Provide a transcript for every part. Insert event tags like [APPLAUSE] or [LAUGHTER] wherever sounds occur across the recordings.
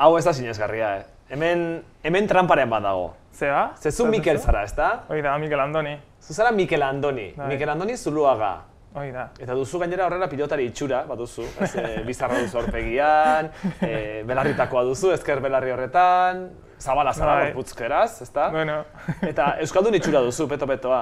Hau ez da sinesgarria, eh? Hemen, hemen tramparen bat dago. Zeba? Ze zu Mikel zara, ez da? Hoi da, Mikel Andoni. Zu zara Mikel Andoni. Bai. Mikel Andoni zuluaga. Hoi da. Eta duzu gainera horrela pilotari itxura, bat duzu. Ez, [LAUGHS] eh, bizarra duzu aurpegian, eh, belarritakoa duzu, ezker belarri horretan, zabala zara Bai. gorputzkeraz, ez da? Bueno, [LAUGHS] Eta Euskaldun itxura duzu, peto-petoa.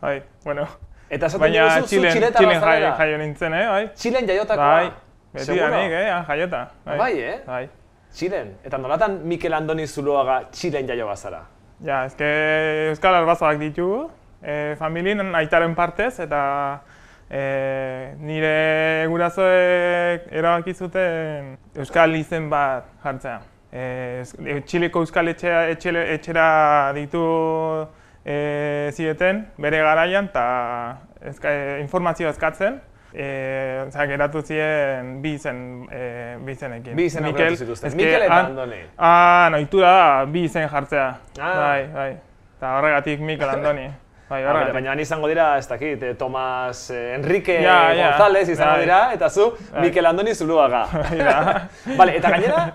bai, bueno. Eta esaten Baina diguzu, zu Txilen, txiletarra Txilen jai, zarela. jaio nintzen, eh, bai? Txilen jaiotakoa. Bai, beti danik, eh, han jaiota. Bai, eh? Bai. Txilen. Eta nolatan Mikel Andoni Zuloaga Txilen jaio bazara. Ja, ezke Euskal Arbazak ditugu, e, familien aitaren partez, eta e, nire gurasoek erabaki zuten Euskal izen bat jartzea. E, Eus- e, Txileko Euskal etxea, etxele, etxera ditu e, zieten, bere garaian, eta eska, e, informazioa eskatzen. E, osea, geratu ziren bi izen, e, bi izenekin. Bi izen aukeratu zituzten. Mikel eta Andoni. Ah, noitura da, bi izen jartzea. Ah. Bai, bai. Eta horregatik Mikel Andoni. Bai, Ah, bere, horregatik. Baina han izango dira, ez dakit, eh, Tomas eh, Enrique Ja, ja. González izango Bai. dira, eta zu Mikel Andoni [LAUGHS] Zuluaga. da. [LAUGHS] vale, eta gainera,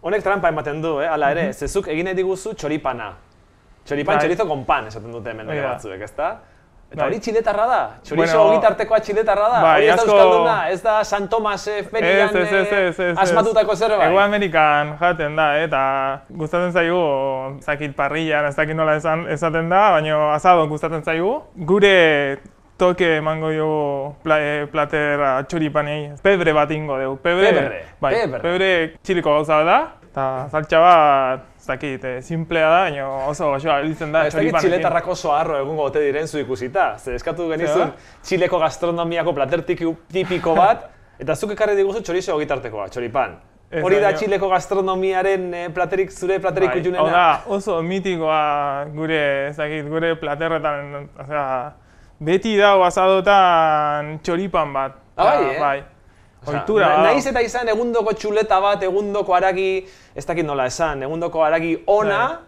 honek trampa ematen du, eh? ala ere, zezuk egin nahi diguzu txoripana. Txoripan, Bai. txorizo con pan esaten dute hemen Hori dute da. batzuek, ezta? Eta Bai. hori txiletarra da, txorizo Bueno, bueno, ogitartekoa txiletarra da, bai, hori ez da asko- Euskalduna, ez da San Tomas eh, ferian Ez, ez, ez, eh, ez, ez, ez. asmatutako zerbait. Ego Amerikan jaten da, eh, eta gustatzen zaigu, ez dakit parrillan, ez dakit nola esan, esaten da, baina asado gustatzen zaigu. Gure toke emango diogu pla, e, platera txuripanei. Pebre bat ingo dugu. Pebre, Pebre, bai, pebre. pebre txiliko gauza bat da, eta saltxa bat, ez dakit, eh, simplea da, baina oso goxoa biltzen da Ez dakit txoripanekin. txiletarrako oso arro egungo ote diren zu ikusita. Ze eskatu genizun Zer? txileko gastronomiako plater tiku- tipiko [LAUGHS] bat, eta zuk ekarri diguzu txorizo gitartekoa, txoripan. Ez Hori da baino- txileko gastronomiaren eh, platerik, zure platerik Bai, kutxunena. Hau da, oso mitikoa gure, ez dakit, gure platerretan, osea, beti dago azadotan txoripan bat. Ah, bai, eh? Osea, Oitura na- da. Nahiz eta izan egundoko txuleta bat, egundoko aragi, ez dakit nola esan, egundoko aragi ona,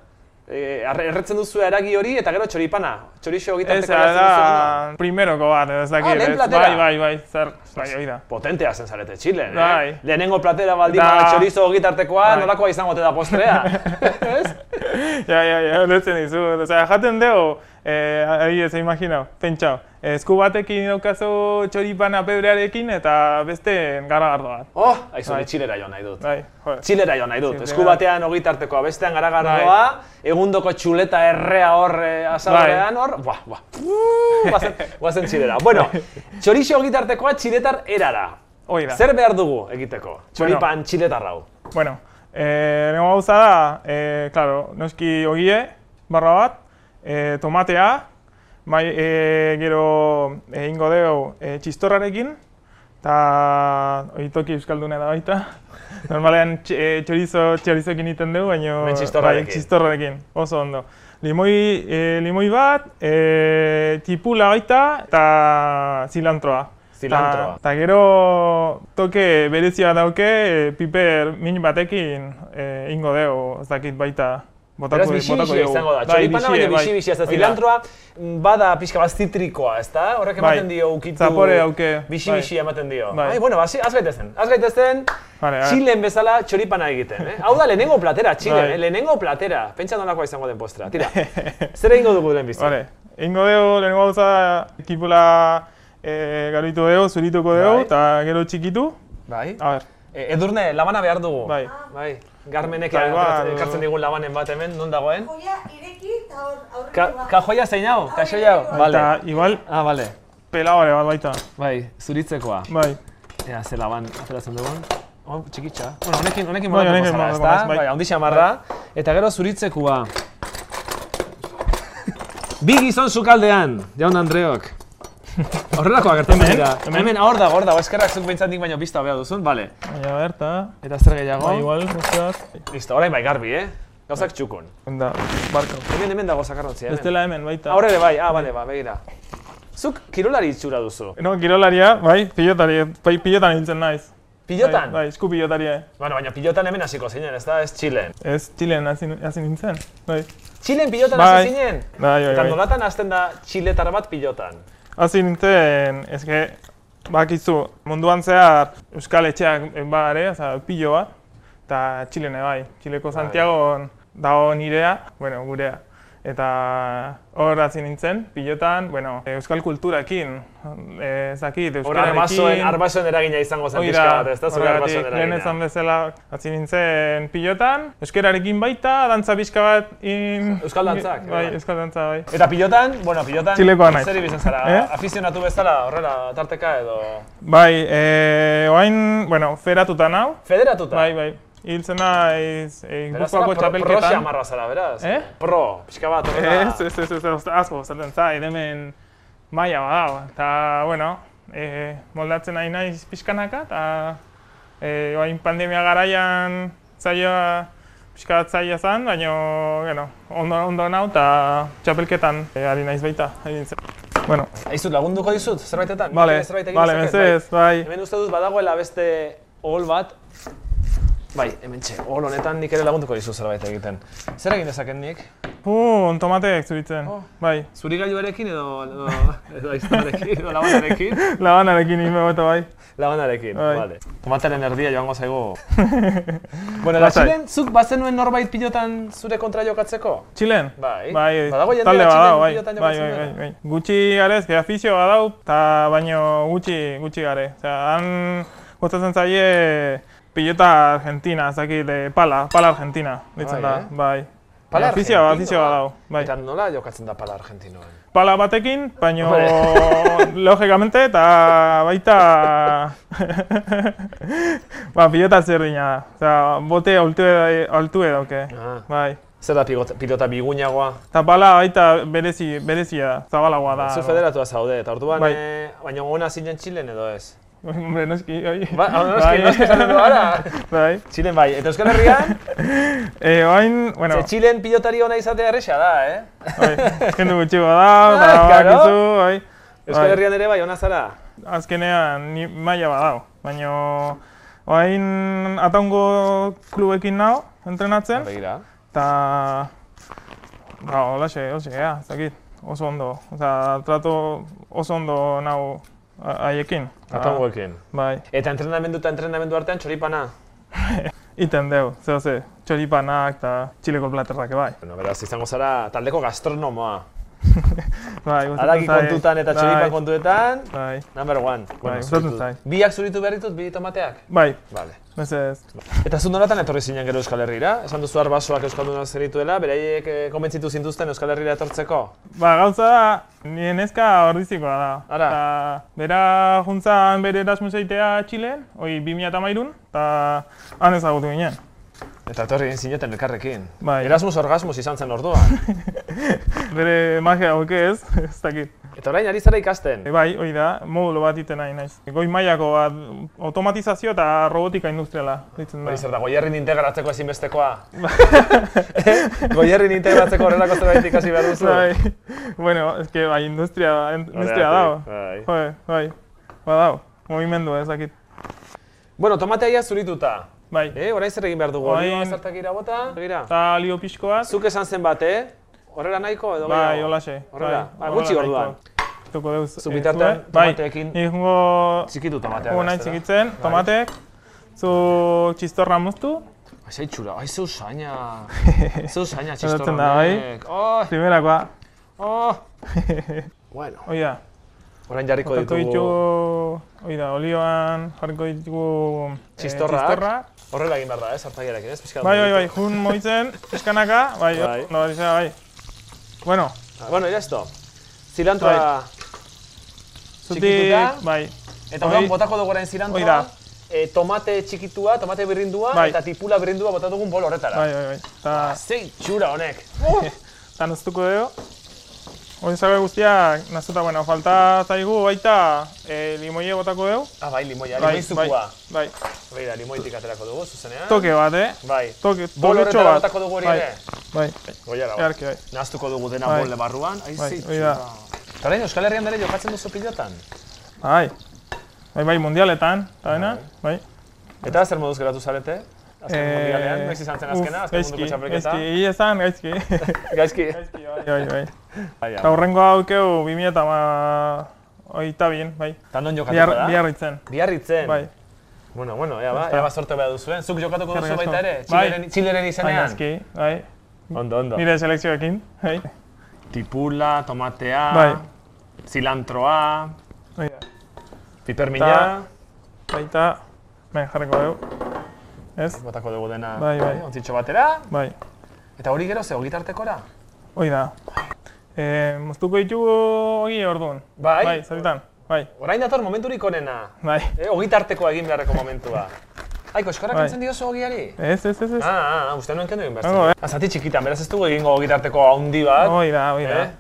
eh, arre- erretzen duzu aragi hori eta gero txoripana. Txorizo Bai. Ez gitartekoa erretzen duzu ona. da, primeroko bat, ez dakit. Ah, lehen ez? platera. Bai, bai, bai, zer, bai, hoi [LAUGHS] da. Potentea zen zarete Txilen, eh? Bai. Lehenengo platera baldin Eta- bada txorizo gitartekoa, Bai. nolakoa izango te da [LAUGHS] postrea. Ez? Ja, ja, ja, letzen dizu. Osea, jaten dugu, eh, adibidez, imaginau, pentsau. Esku batekin daukazu txoripana pebrearekin eta beste garagardo bat. Oh, aizu Bai. ni txilera joan nahi dut. Bai, jo. Txilera joan nahi dut. Txilera. Esku batean ogitartekoa, bestean garagardoa, Bai. egundoko txuleta errea hor eh, azadorean hor, buah, buah, puuu, guazen, guazen txilera. Bueno, Bai. txorizo ogitartekoa txiletar erara. Hoi da. Zer behar dugu egiteko? Txoripan txiletar hau. Bueno, eh, lehenko gauza da, eh, claro, noski ogie, barra bat, eh, tomatea, bai, eh, gero egingo dugu eh, txistorrarekin, eta oitoki euskalduna da [LAUGHS] baita. Normalean tx, eh, txorizo, txorizoekin egiten dugu, baina Hemen txistorrarekin. bai, txistorrarekin, oso ondo. Limoi, eh, limoi bat, eh, tipula baita, eta zilantroa. Zilantroa. Eta gero toke berezia dauke e, piper min batekin e, ingo dugu, ez dakit baita botako, Beraz, bixi botako dugu. izango da. Bai, Txoripana baina bixie, bai. bixi bixia, ez da Hori zilantroa, mm, bada pixka bat zitrikoa, ez da? Horrek Bai. ematen dio ukitu... Zapore dauke, Bixi bai. bixi ematen dio. Bai. Ai, bueno, hasi- has gaitezen. Az gaitezen, Vale, a- Txilen bezala txoripana egiten, eh? Hau da lehenengo platera, Txilen, Bai. eh? lehenengo platera. Pentsa nolakoa izango den postra, tira. [LAUGHS] Zer egingo dugu lehen bizi? Vale, ingo dugu lehenengo gauza kipula e, garoitu dugu, zurituko dugu, Bai. eta gero txikitu. Bai. A ber, E, edurne, labana behar dugu. Ah. Bai. Bai. Garmenek Bai, bai, ateratzen- bai. ekartzen digun labanen bat hemen, non dagoen? Joia ireki eta hor aurrera Ka doa. kajoia zein hau? Kaxoi hau? Bai. Vale. eta igual Ah, vale. pelabare bat baita. Bai, zuritzekoa. Bai, Ea, ze laban ateratzen dugun. Oh, txikitxa. Bueno, honekin, honekin Bai, bai, honekin zara, moldatuko ezta? naiz, bai. Bai, handi xamarra. Eta gero zuritzekua. Bi gizon sukaldean, jaun Andreok. Horrelako agertzen Hemen? dira. Hemen? Hemen, hor da, hor da, eskerrak zuk behintzat nik baino bizta hobea duzun, bale. baina a ber, eta Eta zer gehiago? bai, igual, guztiak, Listo, orain bai garbi, eh? Gauzak txukun. da, barkau. Hemen, hemen dago zakarrotzia, hemen. Bestela hemen baita. Aurre ere bai, ah, bale, ba, begira. Zuk kirolari itxura duzu. No, kirolaria, bai, pilotari, bai, pilotan nintzen naiz. Pilotan? Bai, bai esku pilotaria. Bueno, baina pilotan hemen hasiko zinen, ez da, ez Txilen. Ez, Txilen hasi hasi nintzen. Bai, Txilen pilotan Bai. hasi zinen? bai, Eta bai. bai. nolatan hasten da txiletar bat pilotan. Hasi nintzen, eske, bakizu, munduan zehar Euskal Etxeak eh, ba ere, oza, pilo bat. eta Txilene bai, Txileko Santiago dago nirea, bueno, gurea. Eta hor hasi nintzen, pilotan, bueno, euskal kulturaekin, e, zakit, Hor euskararekin... arbasoen, arbasoen eragina izango zen Hoi pixka bat, ez da zure horregatik, arbasoen lehen eragina. esan bezala, hasi nintzen pilotan, euskerarekin baita, dantza pixka bat... In... Euskal dantzak, Bai, bai. euskal dantza, bai. Eta pilotan, bueno, pilotan, Txilekoa naiz. zer ibizen zara, Eh? afizionatu bezala, horrela, tarteka edo... Bai, e, oain, bueno, feratuta nau, Federatuta? bai, bai. Hiltzen naiz, e, Beraz, zara guztuako pro- Prosi txapelketan. amarra zara, beraz? Eh? Pro, pixka bat, horrela... Ez, ez, ez, ez, ez, asko, zaten za, edemen maia badao. Eta, bueno, e, moldatzen nahi naiz pixkanaka, eta e, oain pandemia garaian zaila, pixka bat zaila zen, baina, bueno, ondo, ondo nau, eta txapelketan e, ari naiz baita, egin zen. Bueno, Aizut, lagunduko dizut, zerbaitetan? bale, Nik zerbait egin bale, dezaket, mesedez, bai. Hemen uste dut badagoela beste ohol bat. Bai, hemen txe, ohol honetan nik ere lagunduko dizu zerbait egiten. Zer egin dezaken nik? Pun, tomateek zuritzen, Oh. [LAUGHS] bai. Zurigailuarekin edo, edo, edo aiztuarekin, edo [LAUGHS] labanarekin? Labanarekin ime bota, bai. Labanarekin, Bai. bale. Tomataren erdia joango [LAUGHS] zaigu. bueno, Lasai. Latxilen, zuk bazenuen norbait pilotan zure kontra jokatzeko? Txilen? Bai. Bai, Badago jendea talde Txilen badao, bai, pilotan bai, jokatzen bai, bai, dena. bai. Gutxi garez, que afizio badau, eta baino gutxi, gutxi gare. Osea, han gustatzen zaie pilota argentina, ez dakit, eh, pala, pala argentina, ditzen Bai, da, eh? bai. Pala Afizio, argentinoa. afizio badau, bai. Eta nola jokatzen da pala argentinoan? Pala batekin, baino [LAUGHS] Hombre. logikamente, eta [LAUGHS] baita... [LAUGHS] ba, pilota zerdina da. Osea, bote altue, altue dauke. Ah. Bai. Zer da pilota, pilota bigunagoa? Eta bala baita berezi, berezia da, zabalagoa da. Zu federatua zaude, eta orduan, Bai. eh, baina gona zinen Txilen edo [LAUGHS] ez? [LAUGHS] Hombre, noski, oi. Ba, hau noski, noski esaten du ara. [LAUGHS] Bai. Txilen bai, eta Euskal Herrian, E, oain, [LAUGHS] bueno, Ze Txilen pilotari ona izatea erresa da, eh? bai, jendu gutxi bada, [LAUGHS] Ah, bada claro. bakizu, bai. Euskal Bai. Herrian ere bai ona zara. Azkenean, ni maila badao. Baina, oain ataungo klubekin nao, entrenatzen, Begira. eta... Ba, holaxe, holaxe, ja, ez dakit. Oso ondo, oza, trato oso ondo nau a- haiekin. Ta, Atongoekin. Bai. Eta entrenamendu eta entrenamendu artean txoripana. Iten deu, zeo ze, txoripanak eta txileko platerrak bai. Bueno, beraz, izango zara taldeko gastronomoa. Bai, gustatzen Araki zait. kontutan eta txoripan Bai, kontuetan, Bai, number one. Bai, gustatzen zuritu- zait. Biak zuritu behar ditut, bi tomateak? bai, Vale. mesedez. Eta zu nolatan etorri zinen gero Euskal Herrira? Esan duzu arbasoak Euskaldunak zenituela, beraiek eh, konbentzitu zintuzten Euskal Herrira etortzeko? Ba, gauza da, nire neska ordizikoa da. Ara. Ta, bera juntzan bere Erasmus eitea Txilen, hoi 2008an, eta han ezagutu ginen. Eta etorri egin zineten elkarrekin. Bai. Erasmus orgasmus izan zen [LAUGHS] orduan. Bere magia hauke ez, [LAUGHS] ez dakit. Eta orain ari zara ikasten. E, bai, hoi da, modulo bat iten nahi naiz. Goi mailako bat, automatizazio eta robotika industriala, ditzen Hori da. zer da, goierrin integratzeko ezinbestekoa. Bai. [LAUGHS] Eh? goierrin integratzeko horrelako zerbait ikasi behar duzu. Bai, [LAUGHS] bueno, eske bai, industria, industria dago. Bai. Joe, bai, badao, movimendu ez dakit. Bueno, tomatea ia zurituta. Bai, Eh, orain zer egin behar dugu? Orain- Olioa zartak gira bota? Begira. eta lio pixko bat, Zuk esan zen bat, eh? Horrela nahiko edo bai, gehiago? holaxe. Horrela. Ba, gutxi horrela orduan. nahiko. Tuko deuz. Zu eh, bitartean zue. bai, tomateekin- bai. Nik jungo, Txikitu tomatea. jungo nahi txikitzen, tomatek, zu txistorra moztu, Ai, zai txura, ai, zeu [LAUGHS] zaina. zeu zaina Gertatzen da, bai. txistorronek. Oh, primerakoa, [LAUGHS] oh. bueno, hoi da. orain jarriko Jarko ditugu. ditugu, hoi da, olioan jarko ditugu eh, Txistorrak. txistorra. Horrela egin behar da, eh, zartagiarekin, ez? Pixka bat Bai, bai, bai, mugitu. jun moitzen, eskanaka, bai, Bai. no, hori zera, bai. Bueno, Bueno, ira esto. Zilantroa, Bai. zutik, Txikituta. bai, eta orduan Hoi. botako dugu orain Hoi zilantroa, da. eh, tomate txikitua, tomate birrindua, Bai. eta tipula birrindua bota dugun bol horretara. bai, bai, bai. Ta, Zei txura honek. Eta naztuko dugu. Hori zabe guztiak naztuta, bueno, falta zaigu baita e, limoie botako dugu. Ah, bai, limoia, Bai, bai, limoizukua. bai. Begira, limoitik aterako dugu, zuzenean. Toke bat, eh? Bai. Toke, Bol toke txo horretara bat. botako dugu hori bai, ere. bai, Goiara, bai. earki, bai. Nahaztuko dugu dena Bai. bol barruan, ai Bai, zei hori da. txura. Eta orain Euskal Herrian dere jokatzen duzu pilotan. Bai, bai, bai, mundialetan, eta dena, bai. Eta zer moduz geratu zarete? Azken Eh, mundialean, noiz izan zen uf, azkena, azken munduko gaizki, txapelketa. Gaizki, egia esan, gaizki. [LAUGHS] Gaizki. bai, bai, bai. Bai, ja. Eta hurrengo haukeu 2000 eta ma... Oita bien, bai. Eta non jokatuko Bihar, da? biharritzen. Biarritzen. Bai. Bueno, bueno, ea ba, ea ba sorte behar duzuen. Zuk jokatuko duzu Eskerrik asko. baita ere, Bai. txileren, txileren Hain izenean. aski, bai. Ondo, ondo. Nire selekzioekin, bai. Tipula, tomatea, Bai. zilantroa, Hoi da. pipermina. Baita, bai, jarriko dugu. Ez? Botako dugu dena Bai, bai. ontzitxo batera. Bai, Eta hori gero ze, ogitartekora? hoi da. E, moztuko ditugu hori orduan. Bai. Bai, zerritan. Bai, Orain dator momenturik onena. bai. E, ogitartekoa egin beharreko momentua. Aiko, eskorra Bai. kentzen diozu ogiari? Ez, ez, ez, ez. Ah, ah, uste nuen kendu egin behar Hango, zen. eh? Ah, Zati txikitan, beraz ez dugu egingo ogitarteko handi bat. Hoi da, hoi da. eh?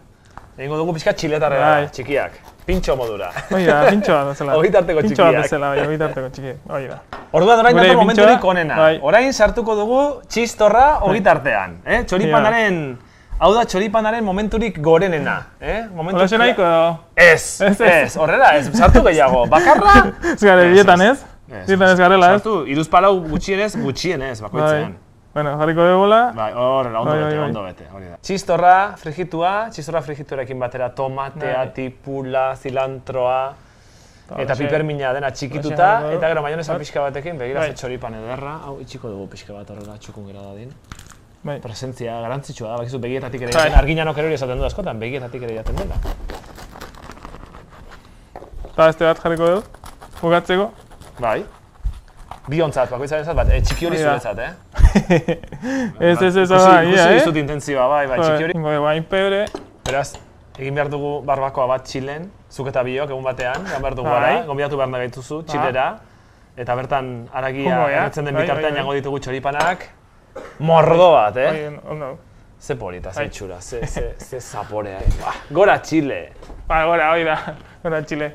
Egingo dugu pixka txiletarrera, Bai. txikiak. Pintxo modura. [LAUGHS] Hoi da, pintxoa bezala. Ogitarteko Pintxoa txikiak. bezala, bai, ogitarteko txikiak. Hoi da. Orduan orain Gure dator momenturik pintxoa, onena. bai. Orain sartuko dugu txistorra ogitartean. Eh? Txoripanaren, Bai. hau da txoripanaren momenturik gorenena. Eh? Momentu Hola nahiko edo? Ez, ez, Ez, ez. horrela, ez, sartu gehiago. [LAUGHS] Bakarra? Ez gara, bietan ez? Bietan ez garela, ez? Bai. Sartu, iruzpalau gutxienez, gutxienez, bakoitzean. Bueno, jarriko dugula. Bai, horrela, ondo Bai, bete, bai, bai. ondo bete, hori da. Txistorra frijitua, txistorra frijituarekin batera tomatea, Bai. tipula, zilantroa, eta holaxe. pipermina dena txikituta, Holaxe jarriko eta gero dugu. maionesa pixka batekin, begira Bai. ze txoripan ederra, hau itxiko dugu pixka bat horrela txukun gera dadin. Bai. Presentzia garantzitsua da, bakizu begietatik ere Bai. jaten, arginanok erori esaten du askotan, begietatik ere jaten dela. Eta beste bat jarriko dugu. Bukatzeko. Bai. Biontzat, bakoitzaren zat bat, e, txiki hori Hori da. zuretzat, eh? Ez, ez, ez, hau Ikusi- da, ia, Ikusi eh? dizut intentzioa, bai, bai, txiki hori. Eh? Ingo dugu hain pebre. Beraz, egin behar dugu barbakoa bat Txilen, zuk eta biok egun batean, egin behar dugu Bai. gara, gombidatu behar nagaituzu, Txilera, eta bertan aragia Jungo, ja. erretzen den Bai, bai, bitartean bai. jango ditugu txoripanak, mordo bat, Bai, eh? ondo. Ze poli eta Bai. Bai. ze txura, ze, ze, ze zaporea. eh? Ba, gora Txile! Ba, gora, hoi da. Gora, Txile.